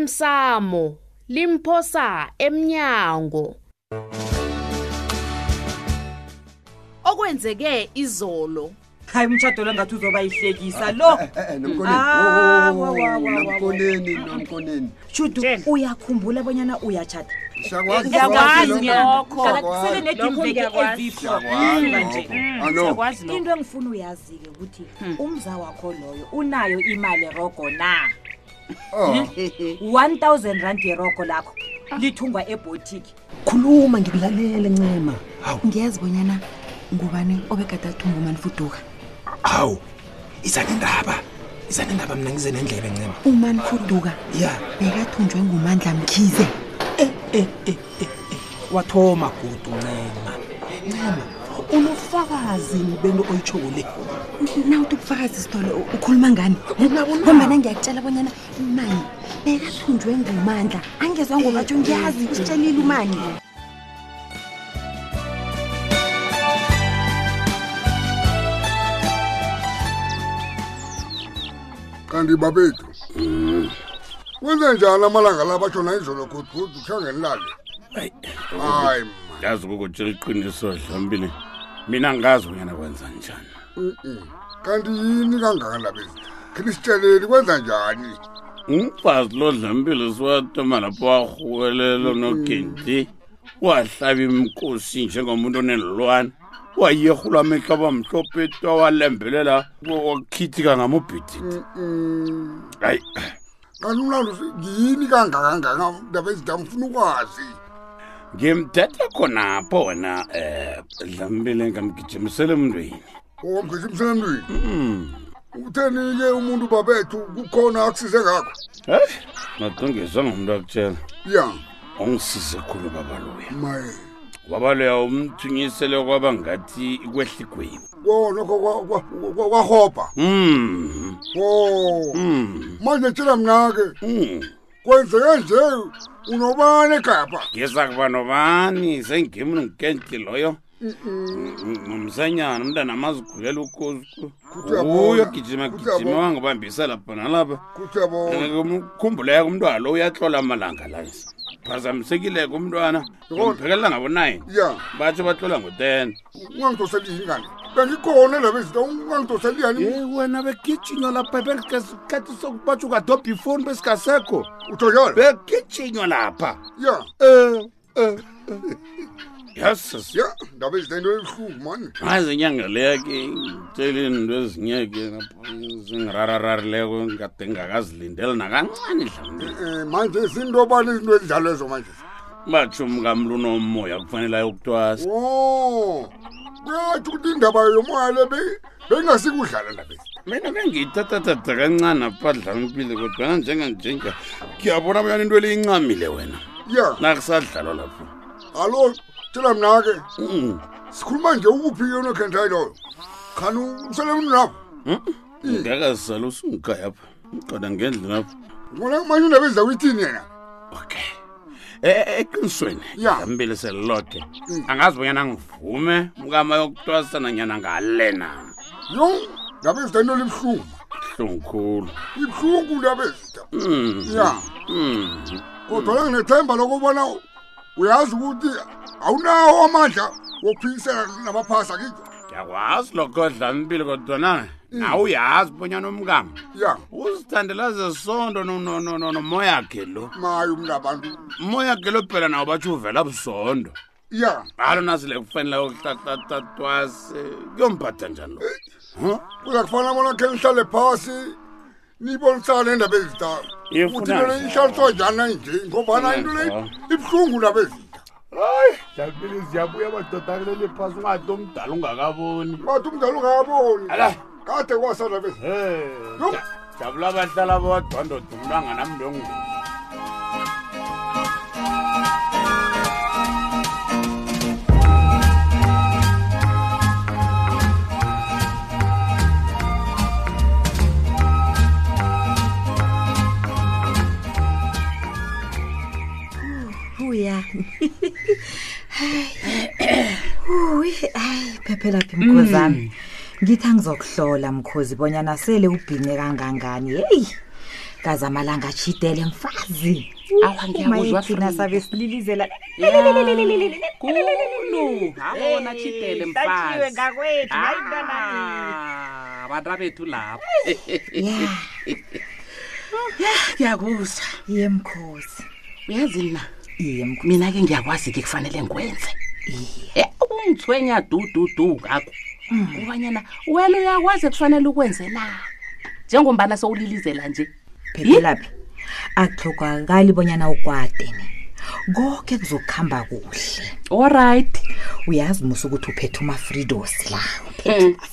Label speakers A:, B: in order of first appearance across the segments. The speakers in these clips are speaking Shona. A: osemsamo limphosa emnyango okwenzeke izolo
B: hayi umtshado lo ngathi uzoba yihlekisa
C: Eh,
B: lo
C: Mm.
B: Ah, wa, wa, wa, wa, wa.
C: nomkoneni nomkoneni
B: shudu uyakhumbula bonyana uyatshada
C: siyakwazi
B: Ngiyakwazi
C: siyakwazi
B: lokho.
C: siyakwazi.
B: Selene-team veke eziyi-four.
C: Siyakwazi
B: Mm,
C: lokho.
B: nje.
C: alo
B: into engifuna uyazi-ke ukuthi umza wakho loyo unayo imali rogo na
C: Oh,
B: 1000 rand yerogo lakho lithungwa ebotiki
D: khuluma ngikulalele ncema
E: ngiyazi bonyana ngubani obegada athunga umanifuduka
F: hawu iza nendaba iza nendaba mna ngize nendlebe ncema
E: umanifuduka
F: ya
E: bekathunjwe ngumandla mkhize
F: wathoma gudu ncema ncema unofakazi bento oyitshoko le
E: nawuthi ubufakazi sithole u- ukhuluma ngani ngombana ngiyakutshela bonyana imani bekathunjwe ngumandla angezwa ngobatsho ngiyazi usitshelile umani
C: kanti babethu wenze njani amalanga la batshona izolo godugodu khangenilale
G: hayi
C: hayi ma
G: yazi ukukutshela iqiniso dlombini mina ngazi unyana kwenza njani
C: Mm-mm. kanti yini kangaka labezi khisitsheleli kwenza njani
G: umfazi lo dlombile siwatoma lapho warhuwelelo nogenti wahlaba imkosi njengomuntu onelilwana wayehula amehlo abamhlophetwa walembelela wa- wakhithika ngamubhididi
C: Mm.
G: hayi
C: kanti mlando yini kangakangaka labezi ndamfuna ukwazi
G: ngimthetha khonapho wena um dlambile ngamgijimisele emntwini
C: owamgishimsemntwini utheni-ke umuntu babethu kukhona akusize ngakho
G: heyi madongezwa ngumntu akutshela
C: ya
G: ongisize khulu babaluya
C: maye
G: wabaleka umthunyisele kwaba ngathi ikwehla igwebu
C: kona kwahobha
G: Mm,
C: o
G: mm,
C: manje tshela mna-ke
G: mm.
C: kwenzeke nje unobani egapha
G: ngiza kuba nobani sengimni ngikentli loyo nomsanyana umntana amazigulela ukhosi
C: Kuthi uyabona,
G: uyo gijima
C: kuthi
G: gijima
C: uyabona.
G: wangibambisa lapha nalapha
C: kuthi yabona
G: kumkhumbuleka umntwana lo uyatlola amalanga lansi phazamisekileko umntwana
C: Yabona.
G: umphekelela ngabo-nine
C: ya
G: batsho batlola ngo-ten
C: ungangidoseli yini kanti bengikhona laba izinto ungangidoseli yani
F: ye wena begijinywa lapha besikhathi sokubatsho ukadobha ifoni besikasekho
C: utho njalo
G: begijinywa lapha
C: ya
F: um um
G: yasis
C: ya ndaba izinto into ebuhlungu mani
G: hayi zinyanga leya ke ngitshele into ezinye ke zingirarararileko ngade ngakazilindeli nakancane dlamle
C: um manje zinto bani izinto ezinjalo ezo manje
G: batshumi kamlunomoya kufanele ayokutwasa
C: o kuyatsho ukuthi indaba yomoya le be- bengasikudlala ndabezi
G: mina bengiyithathathatha kancane apha dlamimpile kodwana njenganjenga ngiyabona bonyana into eliyincamile wena
C: ya
G: nakusadlalwa lapho
C: hallo tshela mna-ke
G: Mm,
C: sikhuluma nje ukuphi-ke unokhenthayi loyo khani uselemnapho
G: mm. ngakazisala usungikhaya pha ngiqada ngendlu lapho
C: ngona manje indaba ezizawo ithini yena
G: okay E- e- eqinisweni
C: Ya.
G: ngambile selilodke angazi bonyana ngivume mkama yokutwasana nyana ngale na
C: yo ndaba ezida into libuhlungu
G: hlungukhulu
C: ibuhlungu ndaba ezida
G: Hmm.
C: ya kodwana nginethemba lokubona uyazi ukuthi awunawo amandla wokuphikisana namaphasi akiko
G: ngiyakwazi lokho dlamimpile kodwana nawe uyazi bonyana umkama
C: Hmm. ya
G: uzithandela zesondo no- no- no- no- nomoya akhe lo
C: maye umnabantu
G: moya akhe lo phela nawo batsho uvela busondo
C: ya
G: alo nasile kufanele yokutatwase kuyomphatha njani lo
C: eh, uzakufanele bona khe nihlale phasi nibonisane endaba ezida
G: Yefuna
C: ukuthi lelo
G: njalo.
C: ihlaliswa njani nanje ngobana
G: Yefuna
C: into le
G: njalo.
C: ibuhlungu ndaba ezida
G: hayi dlamimpile ziyabuya madodakulele phasi ungato omdala ungakaboni
C: bathi umdala ungakaboni
G: Ala.
C: kade kwasalaba ezida Yo.
G: Ja- jabula abahlala bodwandoda umntwanga nam longu
E: uya Uy,
B: hayi phephelaphi
H: Mm.
B: mkhozami ngithi angizokuhlola mkhozi bonyana sele ubhinye kangangani heyi ngazamalanga ashidele mfazi awa ngiyakuzwa
E: umayethina sabe sililizela
H: kulu abona chitele
E: satyiwe
H: mfazi
E: ngakwethu hayi mntana
H: Ah, bantwa bethu lapha
E: ya
H: ngiyakuzwa
E: iye mkhosi
H: uyazi mna
E: iye mkhosi
H: mina ke ngiyakwazi ke kufanele ngikwenze Eh, ungithwenya dududu ngakho kubanyana wena uyakwazi kufanele ukwenze na njengombana sowulilizela nje
E: phephelaphi akuhlogakali bonyana ukwade konke kuzokuhamba kuhle
H: allright
E: uyazi musa ukuthi uphethe umafridos la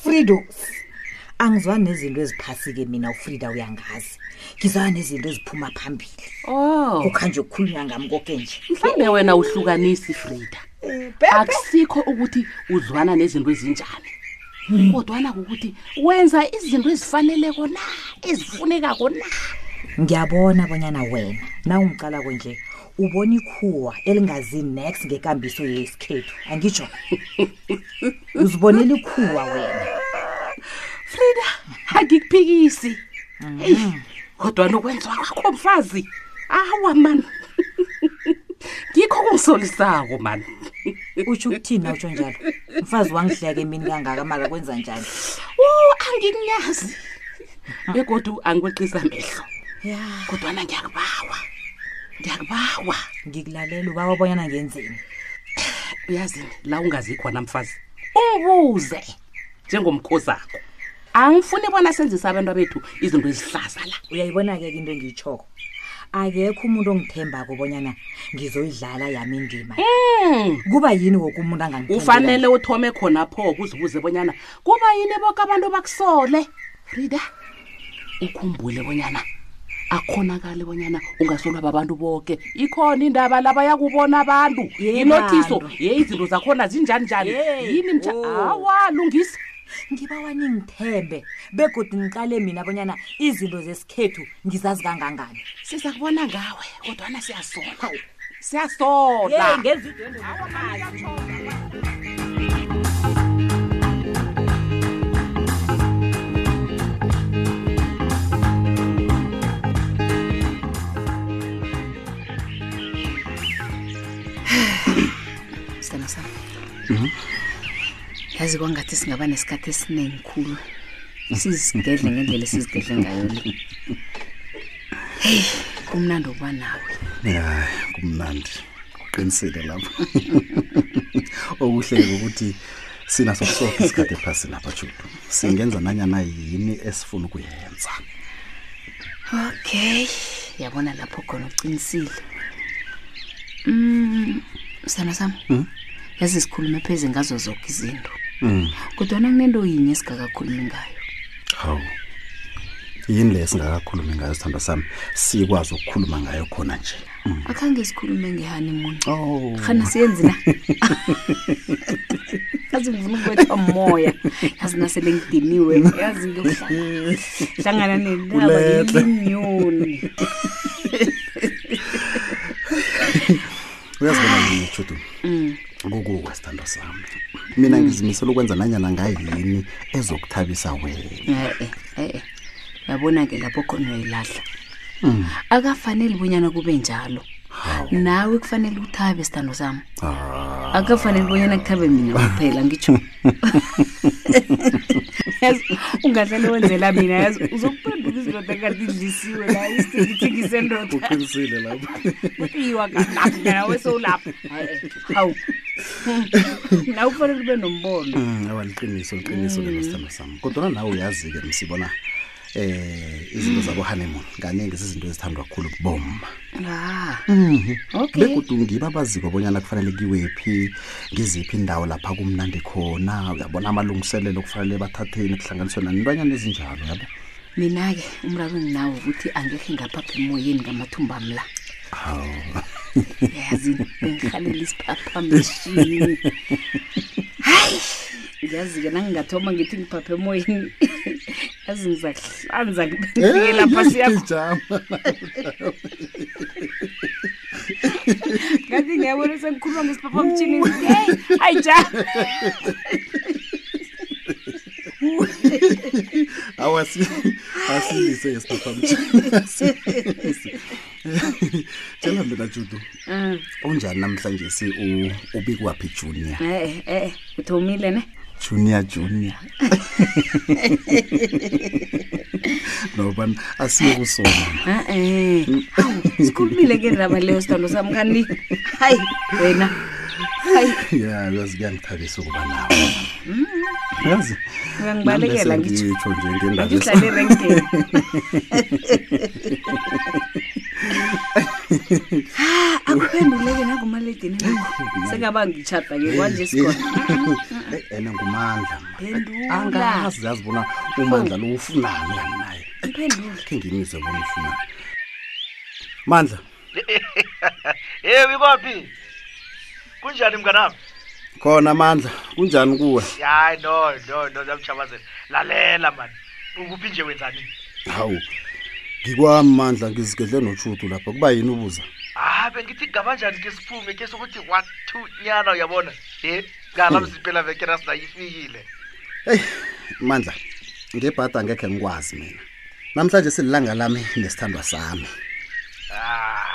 E: fridos angizwani nezinto eziphasi-ke mina ufrida uyangazi ngizwana nezinto eziphuma phambili
H: oh
E: kukhanje ukukhulunywa ngami konke nje
H: mhlawumbe wena uhlukanisi frida akusikho ukuthi uzwana nezinto ezinjani kodwana kukuthi wenza izinto ezifaneleko na ezifunekako na
E: ngiyabona bonyana wena nawungicalako nje ubona ikhuwa elingazi next ngekambiso yesikhethu angitsho uzibonela ikhuwa wena
H: frida angikuphikisi heyi kodwana ukwenziwa kwakho mfazi awa mani ngikho kungisolisako mani
E: utsho ukuthini nawutsho njalo mfazi wangihleka emini kangaka maka kwenza njani
H: o angikunyazi begodu angikweqisa mehlo
E: ya
H: kodwana ngiyakubawa ngiyakubawa
E: ngikulalela ubaba bonyana ngenzeni
H: uyazini la ungazi khona mfazi ungibuze njengomkhosakho angifuni bona senzisa abantu bethu izinto ezihlaza la
E: uyayibona-ke ke into engiyitshoko akekho umuntu ongithembako bonyana ngizoyidlala yami indima
H: Hmm.
E: kuba yini woke umuntu
H: ufanele uthome khona pho kuzibuze bonyana kuba yini boke abantu bakusole frida ukhumbule bonyana akhonakali bonyana ungasolwa babantu boke ikhona indaba labayakubona abantu
E: Yey,
H: inotiso
E: bantu.
H: ye izinto zakhona zinjani njani yini mtsha awa lungisa
E: ngiba waningithembe begodi ngiqale mina bonyana izinto zesikhethu ngizazi kangangani
H: siza kubona ngawe kodwana siyasola siyasola
I: sithando sami yazi kwangathi singaba nesikhathi esinengikhulu sizigedle ngendlela esizigedle ngayo le heyi kumnandi ukuba nawe
F: hayi kumnandi uqinisile lapho okuhleke ukuthi sinaso soke isikhathi ephasi lapha judu singenza nanyana yini esifuna ukuyenza
I: okay yabona lapho khona uqinisile um sithando sami yazi sikhulume pheze ngazo zonke izinto kodwana kunento yinye esingakakhulumi ngayo
F: hawu yini le singakakhulumi ngayo sithando sami sikwazi ukukhuluma ngayo khona nje
I: akhange sikhulume ngehanimuni
F: oh
I: khana siyenzi na yazi ngifuna ukubethwa moya yazi nasele ngidiniwe yazi ngiyohlangana nendaba
F: Buletla.
I: yelinyoni
F: uyazibona mina judu Mm. kukuwe sithando sami mina ngizimisela ukwenza nanyana ngayini ezokuthabisa wena
I: e-e e-e yabona-ke lapho khona uyayilahla akafanele bonyana kube njalo nawe kufanele uthabe sithando sami
F: Ah.
I: akafanele bonyana kuthabe mina kuphela ngitsho yazi ungahlale wenzela mina yazi uzokuphenduka izindoda kanti idlisiwe la isithikithi sendoda
F: uqinisile lapho
I: kuyiwa nawe sowulapha E-e, hawu nawe kufanele ube nombono
F: Mm, awa liqiniso liqiniso lelo sithando sami kodwana nawe uyazi-ke msibona eh izinto zabo-honeymoon kaningi zizinto ezithandwa kakhulu kuboma
I: Ah, okay
F: begudu ngiba abaziko bonyana kufanele kiwephi ngiziphi indawo lapha kumnandi khona uyabona amalungiselelo kufanele bathatheni kuhlanganiswe nanintwanyana ezinjalo yabo
I: mina-ke umraro enginawo ukuthi angekhe ngaphapha emoyeni ngamathumba am la
F: hawu
I: yazini bengihalela isiphaphameshini hayi yazi-ke nangingathoma ngithi ngiphaphe emoyeni yazi ngizakuhlanza ngibeke lapha siyakho ngathi ngiyabona sengikhuluma ngesiphaphamtshini hayi ja
F: awasi basilise isitapam tshela mina judu
I: Mm.
F: unjani namhlanje si u- ubikwaphi junior
I: ee ee uthomile ne
F: junior junior noba asiye kusona
I: a-e awu sikhulumile ngendaba leyo sithando sami kani hayi wena hayi
F: ya yazi kuyangithabisa ukuba nawe yazi
I: uyangibalekela
F: nami
I: ngitsho
F: besengitsho nje ngendaba
I: ngihlale erenkeni ha akuphenduleke nangumaledini nakho sengaba ngitshata-ke kwanje sikhona
F: Eh, ena ngumandla
I: Phendula.
F: angazi yazi bona umandla lo ufunani kani naye
I: Mphendula.
F: khe ngimizwe bona ufunani mandla
J: hey bikwaphi kunjani mnganami
F: khona mandla kunjani kuwe
J: hayi no no no ndiyamjabazela lalela mani ukuphi nje wenzani
F: hawu ngikwami mandla ngizigedle notshudu lapha kuba yini ubuza
J: hayi Ah, bengithi ngabanjani ke siphume ke sokuthi wathu nyana uyabona he ngala
F: Hmm.
J: mziphela vekera sinayifikile
F: eyi mandla ngebhada angekhe ngikwazi mina namhlanje sililanga lami nesithandwa sami
J: ah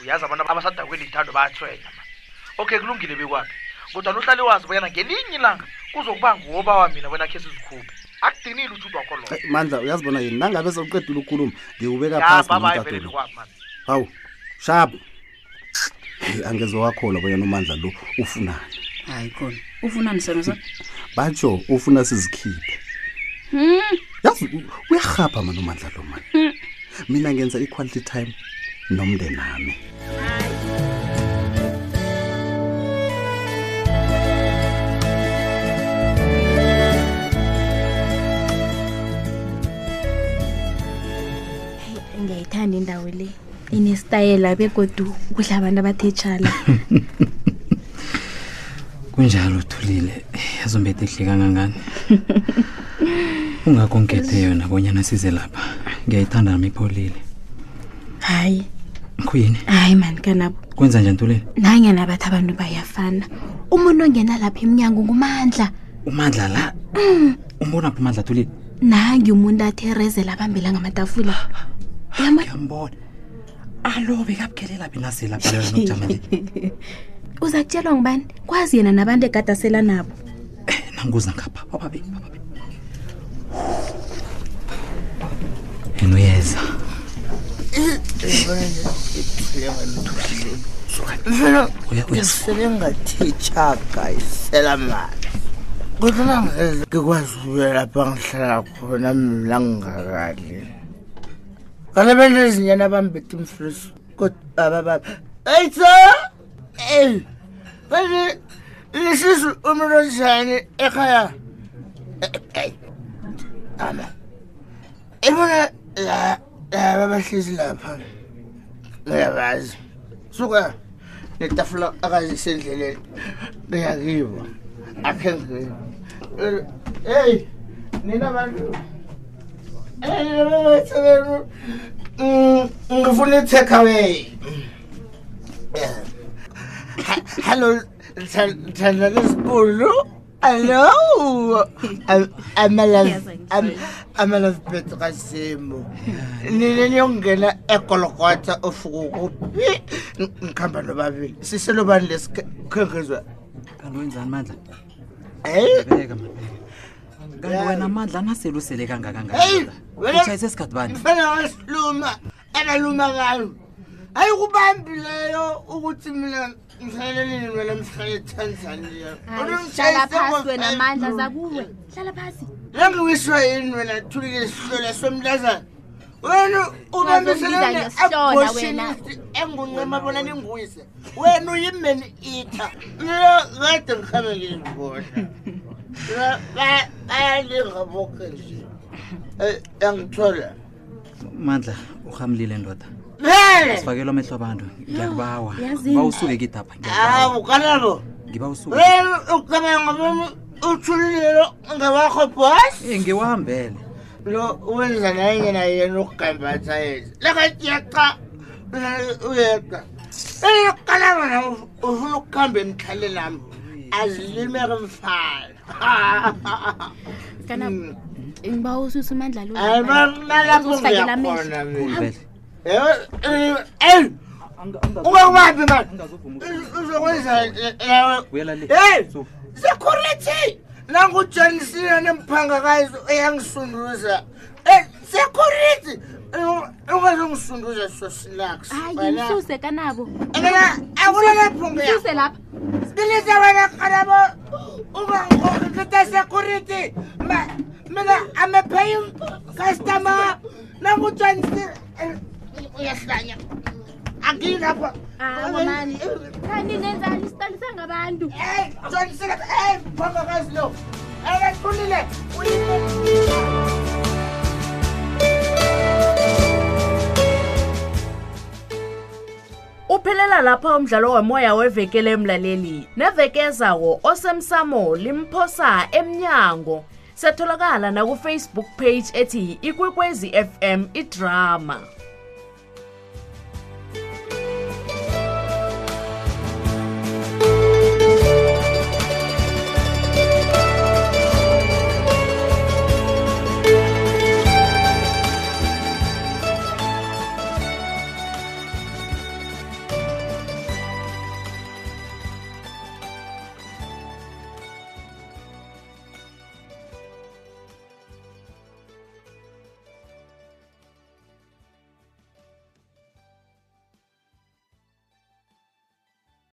J: uyazi abantu abasadakweni ithando bayathwenya mani okay kulungile bikwaphi kodwa uhlale wazi bonyana ngelinye ilanga kuzokuba nguwobawa mina wena khe sizikhuphe akudinile utshudo wakho lowo
F: Eh, mandla uyazibona yini nangabe sewuqedile ukhuluma ngiwubeka
J: ya
F: phasi
J: babayi
F: nomtatweni.
J: vele bikwaphi mani
F: hawu shabu Hey, angezowakhola bonyana umandla lo ufunani
I: hayi khona ufunani sithando sami
F: batsho ufuna sizikhiphe yazi u- uyarhapha mani umandla lo mani mina ngenza i-quality time nomndenami
K: ngiyayithanda indawo le inesitayela begodu kudla abantu abathetshana
L: kunjalo uthulile yazombetha ehle kangangani ungakho ngikhethe yona bonyana size lapha ngiyayithanda nami ipholile
K: hayi
L: khuyini
K: hayi mani kanabo
L: kwenza njani thulile
K: nangena bathi abantu bayafana umuntu ongena lapha emnyango ngumandla
L: umandla la umbona phi umandla thulile
K: nangi umuntu atherezela abambela ngamatafula
L: ngiyambona alo bekabukhelela benazelapha leyo nokujama nje
K: uza kutshelwa ngubani kwazi yena nabantu egadasela nabo
L: nanguza ngapha bababe yena uyeza Uya- uyas-
M: selengathitshaka iselamali kodwana ngeze ngikwazi ukuya lapha ngihlala khona mna ngingakali kanabantu ezinyana abambethe imfrisi kodwa abababa eyitsa eyi kanti lisisu umuntu onjani
F: e,
M: ekhaya eyi ama
F: E,
M: ibona laba bahlezi lapha ngiyabazi suka netafula akazisendleleni beyakibo akhe ngeni eyi nina bantu eyiababatsebenu
F: Hmm,
M: ngifuna i-takeaway hallo thanda lesikulu allo amalafbeto kasimo nineniyokungena ekolokota ofuka kuphi ngikhamba nobabili siselobani lesikhenkizwa
L: kanti wenzani mandla
M: eyi
L: beka ma kanti wena amandla nasele usele
M: Hey,
L: kangakangani
M: wena-
L: utshayise sikhathi bani
M: mfana wasiluma analuma kayo hayi kubambileyo ukuthi mina mhlalelini wena mhlale etanzania
K: hlala phasi wena mandla zakuwe hlala phasi
M: langiwiswa yini wena thulile sihlola somntazana wena
K: Ngizombiza ngesihlola wena.
M: ubambiselene-abortionist engunqema bona ninguwise wena uyimen eater mina kade ngihambe ngiyibona Mina ba- bayalinga boke nje Eh, yangithola
L: mandla urhamlile ndoda
M: vele
L: sifakelwa amehlo abantu ngiyakubawa
M: Yazi-
L: ngiba usuke kidapha
M: hawu kanabo
L: ngiba usuke
M: wena ucabanga bona uthulilelo ngewakho bos
L: ngiwahambele
M: lo wenza nayenye nayena ukugambatha yena lakayeqa uyeqa elokalaba nam ufuna ukuhamba emhlale lami azilimeke mfana
K: kanabo ngiba ususe umandla lo
M: Mm. Hayi, ma- nalapho
K: Usifakela
M: ngiyakhona
K: amehlo.
M: mina.
K: Hawu,
M: eyi ungakubambi mani uzokwenza eh, nawe heyi security nangujanisina nemphangakazi eyangisunduza Eh, security Eh, ungazongisunduza sosilaks
K: hayi msuse kanabo
M: Eh, akunalapho
K: msuse lapha
M: bilisa wena kanabo ungangikhohlisa security Ma- mina i'm a paying customer nangujanisina Eh, uyahlanya angilapha
K: awamani kanti Ah, nenzani isitalisa ngabantu
M: janisina ey mphangakazi lo ebathulile
N: uphelela lapha umdlalo womoya wevekele emlaleli neveke ezawo osemsamo limphosa emnyango setholakala nakufacebook page ethi ikwekwezi fm idrama